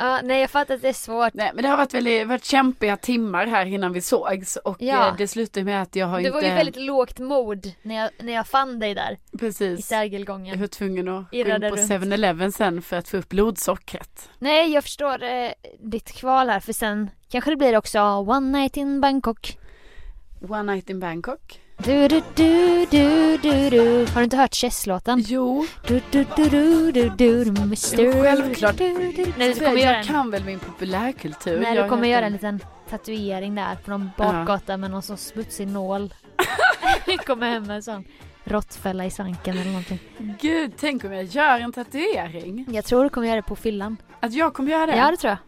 Speaker 2: ja, nej jag fattar att det är svårt.
Speaker 1: Nej men det har varit väldigt varit kämpiga timmar här innan vi sågs och
Speaker 2: Ja.
Speaker 1: eh, det slutade med att jag har
Speaker 2: Det
Speaker 1: inte
Speaker 2: var ju väldigt lågt mod när jag, när jag fann dig där i
Speaker 1: precis jag
Speaker 2: Sergelgången.
Speaker 1: var tvungen att gå in
Speaker 2: Irrade
Speaker 1: på
Speaker 2: runt.
Speaker 1: 7-Eleven sen för att få upp blodsockret.
Speaker 2: Nej jag förstår eh, ditt kval här för sen kanske det blir också One night in Bangkok.
Speaker 1: One night in Bangkok.
Speaker 2: Du, du, du, du, du, du. Har du inte hört Chess-låten?
Speaker 1: Jo,
Speaker 2: Du, du, du, du, du, du, du, Mr.
Speaker 1: Självklart.
Speaker 2: Du, du, du. När du
Speaker 1: jag
Speaker 2: kommer göra en,
Speaker 1: kan väl min populärkultur.
Speaker 2: när du
Speaker 1: Jag
Speaker 2: kommer
Speaker 1: heter-
Speaker 2: göra en liten tatuering där på någon bakgata med någon sån smutsig nål. kommer hem med en sån råttfälla i svanken eller någonting.
Speaker 1: Gud, tänk om jag gör en tatuering.
Speaker 2: Jag tror du kommer göra det på fyllan.
Speaker 1: Att jag kommer göra det.
Speaker 2: Ja det tror jag.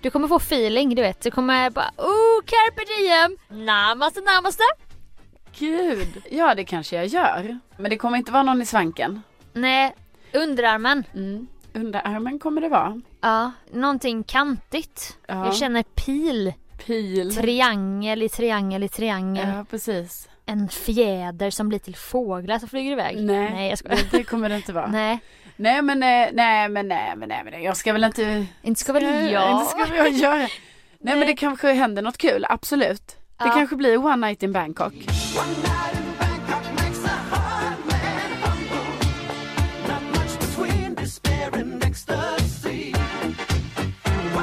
Speaker 2: Du kommer få feeling du vet. Du kommer bara oh carpe diem, namaste namaste.
Speaker 1: Gud. Ja, det kanske jag gör. Men det kommer inte vara någon i svanken.
Speaker 2: Nej, underarmen.
Speaker 1: Mm. Underarmen kommer det vara.
Speaker 2: Ja, någonting kantigt.
Speaker 1: Ja.
Speaker 2: Jag känner pil,
Speaker 1: Pil.
Speaker 2: triangel i triangel i triangel.
Speaker 1: Ja, precis.
Speaker 2: En fjäder som blir till fåglar som flyger iväg.
Speaker 1: Nej.
Speaker 2: Nej jag skojar.
Speaker 1: Det, det kommer det inte vara. Nej,
Speaker 2: Nej,
Speaker 1: men eh, nej, men nej, men nej, men nej. Jag ska väl inte...
Speaker 2: inte ska väl
Speaker 1: Inte
Speaker 2: jag.
Speaker 1: ska jag göra. Nej, men det kanske händer något kul, absolut. Det
Speaker 2: Ja.
Speaker 1: kanske blir One Night in Bangkok.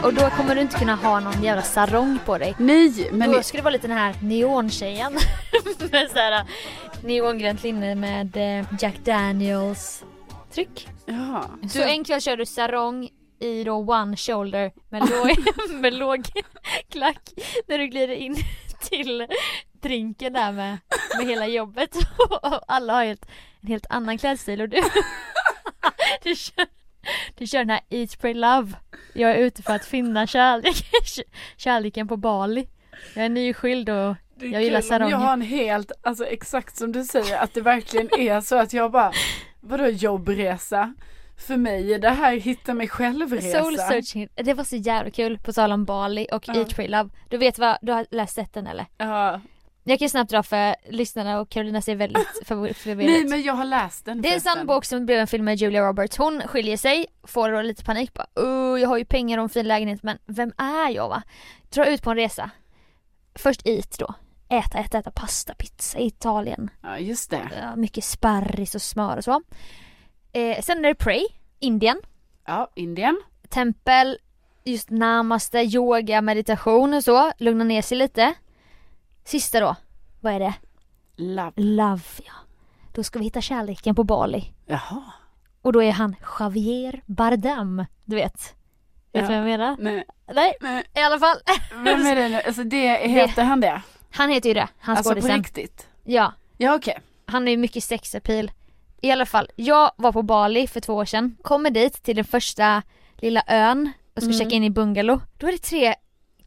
Speaker 2: Och då kommer du inte kunna ha någon jävla sarong på dig.
Speaker 1: Nej, men
Speaker 2: Då skulle det vara lite den här neontjejen. med så här neongrönt linne med eh, Jack Daniels tryck.
Speaker 1: ja.
Speaker 2: Så en kväll kör du sarong i då one shoulder med låg, med låg klack när du glider in till drinken där med, med hela jobbet och alla har helt, en helt annan klädstil och du, du, kör, du kör den här Eat, Pray, Love Jag är ute för att finna kärlek, kärleken på Bali Jag är nyskild och
Speaker 1: Det är
Speaker 2: Jag gillar
Speaker 1: kul om Jag
Speaker 2: sarong.
Speaker 1: har en helt, alltså exakt som du säger, att det verkligen är så att jag bara, vadå jobbresa? För mig är det här hitta mig själv-resa.
Speaker 2: Soul searching, det var så jävla kul på tal om Bali och
Speaker 1: Ja.
Speaker 2: Eat, Pray, Love Du vet vad, du har läst sett den eller?
Speaker 1: Ja.
Speaker 2: Jag kan ju snabbt dra för lyssnarna och Carolina ser väldigt förv- förvirrad
Speaker 1: Nej
Speaker 2: ut.
Speaker 1: men jag har läst den
Speaker 2: Det är en
Speaker 1: förresten.
Speaker 2: sann bok som blev en film med Julia Roberts. Hon skiljer sig, får då lite panik bara oh, jag har ju pengar och en fin lägenhet men vem är jag va? Drar ut på en resa. Först eat då. Äta, äta, äta pasta, pizza i Italien.
Speaker 1: Ja just det.
Speaker 2: Ja, mycket sparris och smör och så. Eh, sen är det pray, Indien.
Speaker 1: Ja, Indien.
Speaker 2: Tempel, just namaste, yoga, meditation och så. Lugna ner sig lite. Sista då, vad är det?
Speaker 1: Love.
Speaker 2: Love ja. Då ska vi hitta kärleken på Bali.
Speaker 1: Jaha.
Speaker 2: Och då är han Javier Bardem. Du vet. Vet du
Speaker 1: Ja.
Speaker 2: vad jag menar?
Speaker 1: Nej,
Speaker 2: Nej,
Speaker 1: nej.
Speaker 2: i alla fall.
Speaker 1: Vem är det nu? Alltså det, heter han det?
Speaker 2: Han heter ju det, han
Speaker 1: Alltså på
Speaker 2: skådisen.
Speaker 1: riktigt?
Speaker 2: Ja,
Speaker 1: Ja okej.
Speaker 2: han är ju mycket sexapil. I alla fall, jag var på Bali för två år sedan. Kommer dit till den första lilla ön och ska
Speaker 1: Mm.
Speaker 2: checka in i bungalow. Då är det tre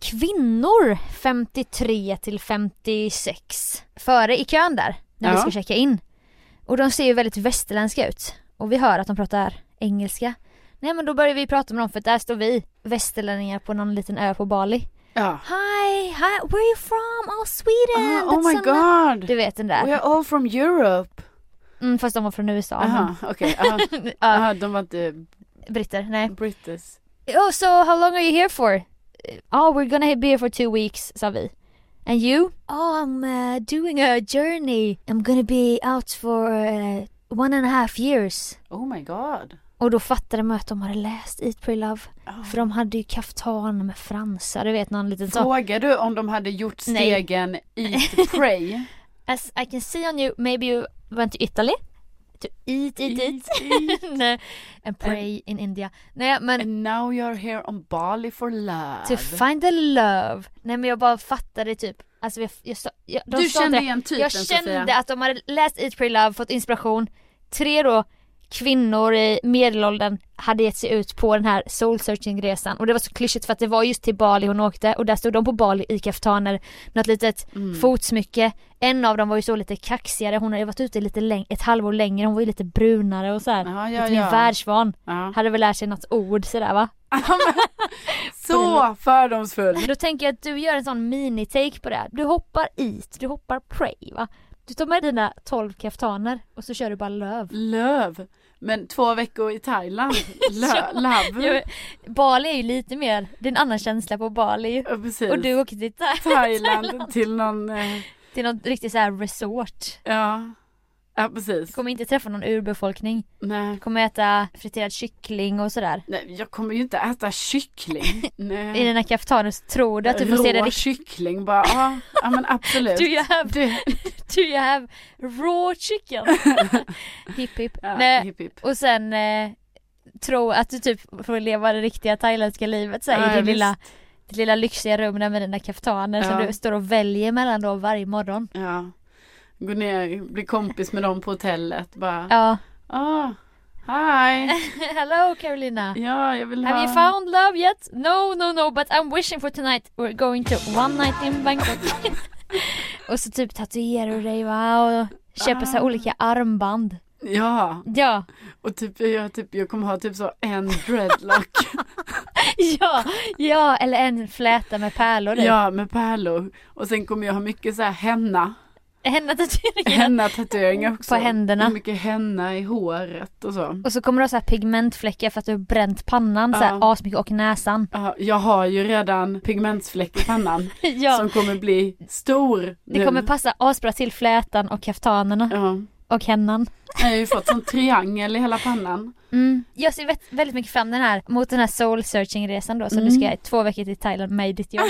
Speaker 2: kvinnor, 53 till 56, före i kön där när vi
Speaker 1: Ja.
Speaker 2: ska checka in. Och de ser ju väldigt västerländska ut. Och vi hör att de pratar engelska. Nej men då börjar vi prata med dem för där står vi västerlänningar på någon liten ö på Bali.
Speaker 1: Ja.
Speaker 2: Hi, hi, where are you from? Oh Sweden!
Speaker 1: Ah, oh
Speaker 2: that's
Speaker 1: my
Speaker 2: so nice."
Speaker 1: god.
Speaker 2: Du vet den där.
Speaker 1: We're all from Europe.
Speaker 2: Mm, fast de var från USA.
Speaker 1: Aha, okej. aha.
Speaker 2: men- ja,
Speaker 1: Aha, uh-huh. de var inte
Speaker 2: britter, Uh-huh. nej.
Speaker 1: brittis.
Speaker 2: Oh so how long are you here for? Oh we're gonna be here for two weeks, sa vi. And you? Oh I'm uh, doing a journey. I'm gonna be out for uh, one and a half years.
Speaker 1: Oh my god.
Speaker 2: Och då fattade man att de hade läst Eat, Pray, Love.
Speaker 1: Ah.
Speaker 2: För de hade ju kaftan med fransar, du vet någon liten sån.
Speaker 1: Frågar du om de hade gjort
Speaker 2: Nej.
Speaker 1: stegen Eat Pray?
Speaker 2: As I can see on you, maybe you went to Italy? To eat, eat, eat. Nej, And pray in India. Nej men
Speaker 1: And now you're here on Bali for love.
Speaker 2: to find the love. Nej men jag bara fattade typ, alltså jag, jag, sa- jag, de
Speaker 1: du
Speaker 2: sa
Speaker 1: kände
Speaker 2: det.
Speaker 1: igen typen
Speaker 2: Jag
Speaker 1: Sofia.
Speaker 2: kände att de hade läst Eat, Pray, Love, fått inspiration. Tre då kvinnor i medelåldern hade gett sig ut på den här soul searching resan och det var så klyschigt för att det var just till Bali hon åkte och där stod de på Bali i kaftaner, något litet
Speaker 1: Mm.
Speaker 2: fotsmycke. En av dem var ju så lite kaxigare, hon hade ju varit ute lite läng- ett halvår längre, hon var ju lite brunare och så här.
Speaker 1: Ja, ja,
Speaker 2: lite mer
Speaker 1: ja.
Speaker 2: världsvan.
Speaker 1: ja.
Speaker 2: Hade väl lärt sig något ord sådär va?
Speaker 1: Så fördomsfull.
Speaker 2: Då tänker jag att du gör en sån mini-take på det här. Du hoppar eat, du hoppar pray va? Du tar med dina 12 kaftaner och så kör du bara löv.
Speaker 1: Löv. Men två veckor i Thailand.
Speaker 2: Ja.
Speaker 1: Lö- love.
Speaker 2: Jo, Bali är ju lite mer, det är en annan känsla på Bali ju.
Speaker 1: Ja, precis.
Speaker 2: Och du åker till Tha-
Speaker 1: Thailand till någon, eh,
Speaker 2: till något riktigt så här resort.
Speaker 1: ja. Ja precis.
Speaker 2: Du kommer inte träffa någon urbefolkning.
Speaker 1: Nej.
Speaker 2: Du kommer äta friterad kyckling och sådär.
Speaker 1: Nej, jag kommer ju inte äta kyckling.
Speaker 2: I
Speaker 1: Nej.
Speaker 2: dina kaftaner så tror du att du får se det
Speaker 1: Rå
Speaker 2: riktigt.
Speaker 1: kyckling bara, ja, ja men absolut.
Speaker 2: Do you have,
Speaker 1: Du,
Speaker 2: do you have raw chicken? hipp hipp.
Speaker 1: ja,
Speaker 2: Nej,
Speaker 1: hipp, hipp.
Speaker 2: Och sen eh, tro att du typ får leva det riktiga thailändska livet så här,
Speaker 1: Ja,
Speaker 2: i
Speaker 1: ja,
Speaker 2: det lilla, ditt lilla lyxiga rum där med dina kaftaner som
Speaker 1: Ja.
Speaker 2: du står och väljer mellan då varje morgon.
Speaker 1: Ja. Gå ner, bli kompis med dem på hotellet bara.
Speaker 2: Ja.
Speaker 1: Ah, hi.
Speaker 2: Hello Carolina!
Speaker 1: Ja, jag vill
Speaker 2: Have
Speaker 1: ha.
Speaker 2: you found love yet? No, no, no, but I'm wishing for tonight we're going to one night in Bangkok. och så typ tatuerar du dig va och köper så här
Speaker 1: Ah.
Speaker 2: olika armband.
Speaker 1: Ja,
Speaker 2: Ja,
Speaker 1: och typ jag, typ jag kommer ha typ så en dreadlock.
Speaker 2: ja, ja, eller en fläta med pärlor typ. i.
Speaker 1: ja, med pärlor. Och sen kommer jag ha mycket så här henna.
Speaker 2: Henna tatueringar.
Speaker 1: Henna-tatueringar också.
Speaker 2: På händerna.
Speaker 1: Och mycket henna i håret och så.
Speaker 2: Och så kommer du ha så här pigmentfläckar för att du har bränt pannan så här
Speaker 1: Ja.
Speaker 2: asmycket och näsan.
Speaker 1: Ja, jag har ju redan pigmentsfläck i pannan
Speaker 2: ja,
Speaker 1: som kommer bli stor
Speaker 2: det
Speaker 1: nu.
Speaker 2: kommer passa asbra till flätan och kaftanerna
Speaker 1: Ja.
Speaker 2: och hennan.
Speaker 1: Jag har ju fått sån triangel i hela pannan.
Speaker 2: Mm. Jag ser vä- väldigt mycket fram den här, mot den här soul searching resan då som du
Speaker 1: Mm.
Speaker 2: ska göra i två veckor till Thailand med ditt jobb.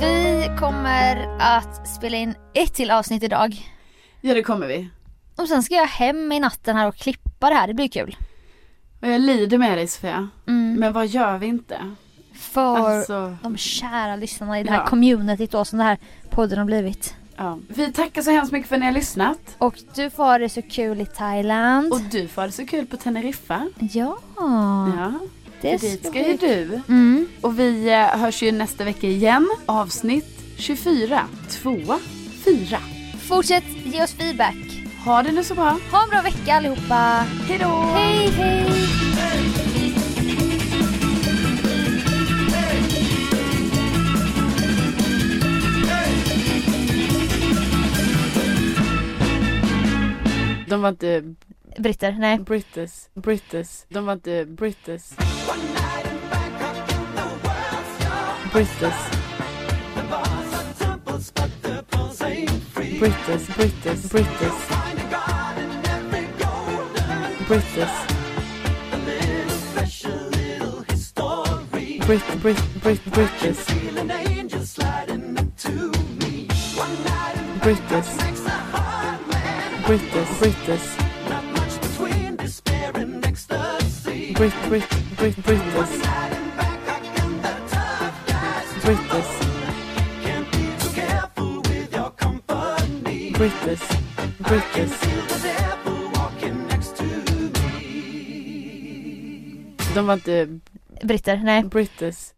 Speaker 2: Vi kommer att spela in ett till avsnitt idag.
Speaker 1: Ja, det kommer vi.
Speaker 2: Och sen ska jag hem i natten här och klippa det här, det blir kul.
Speaker 1: Och jag lider med dig Sofia.
Speaker 2: Mm.
Speaker 1: Men vad gör vi inte?
Speaker 2: För
Speaker 1: Alltså,
Speaker 2: de kära lyssnarna i det här
Speaker 1: Ja.
Speaker 2: communityt då som den här podden har blivit.
Speaker 1: ja. Vi tackar så hemskt mycket för att ni har lyssnat.
Speaker 2: Och du får ha det så kul i Thailand.
Speaker 1: Och du får ha det så kul på Teneriffa.
Speaker 2: Ja,
Speaker 1: Ja,
Speaker 2: det
Speaker 1: dit ska
Speaker 2: vi-
Speaker 1: ju du.
Speaker 2: Mm.
Speaker 1: Och vi eh, hörs ju nästa vecka igen. Avsnitt 24, 2, 4.
Speaker 2: Fortsätt ge oss feedback.
Speaker 1: Ha det nu så bra.
Speaker 2: Ha en bra vecka allihopa.
Speaker 1: Hej då!
Speaker 2: Hej hej!
Speaker 1: De var inte
Speaker 2: Britter, nej.
Speaker 1: brittis. Brittis. De var inte brittis. Brittis. Brittis, brittis, brittis. Brittis. Brit, brit, brit, brittis. Brittis. Brittis, brittis. Brit, Brit, Brit, Britus. Britus. Britus. Britus. De var inte
Speaker 2: Britter, nej.
Speaker 1: Britus.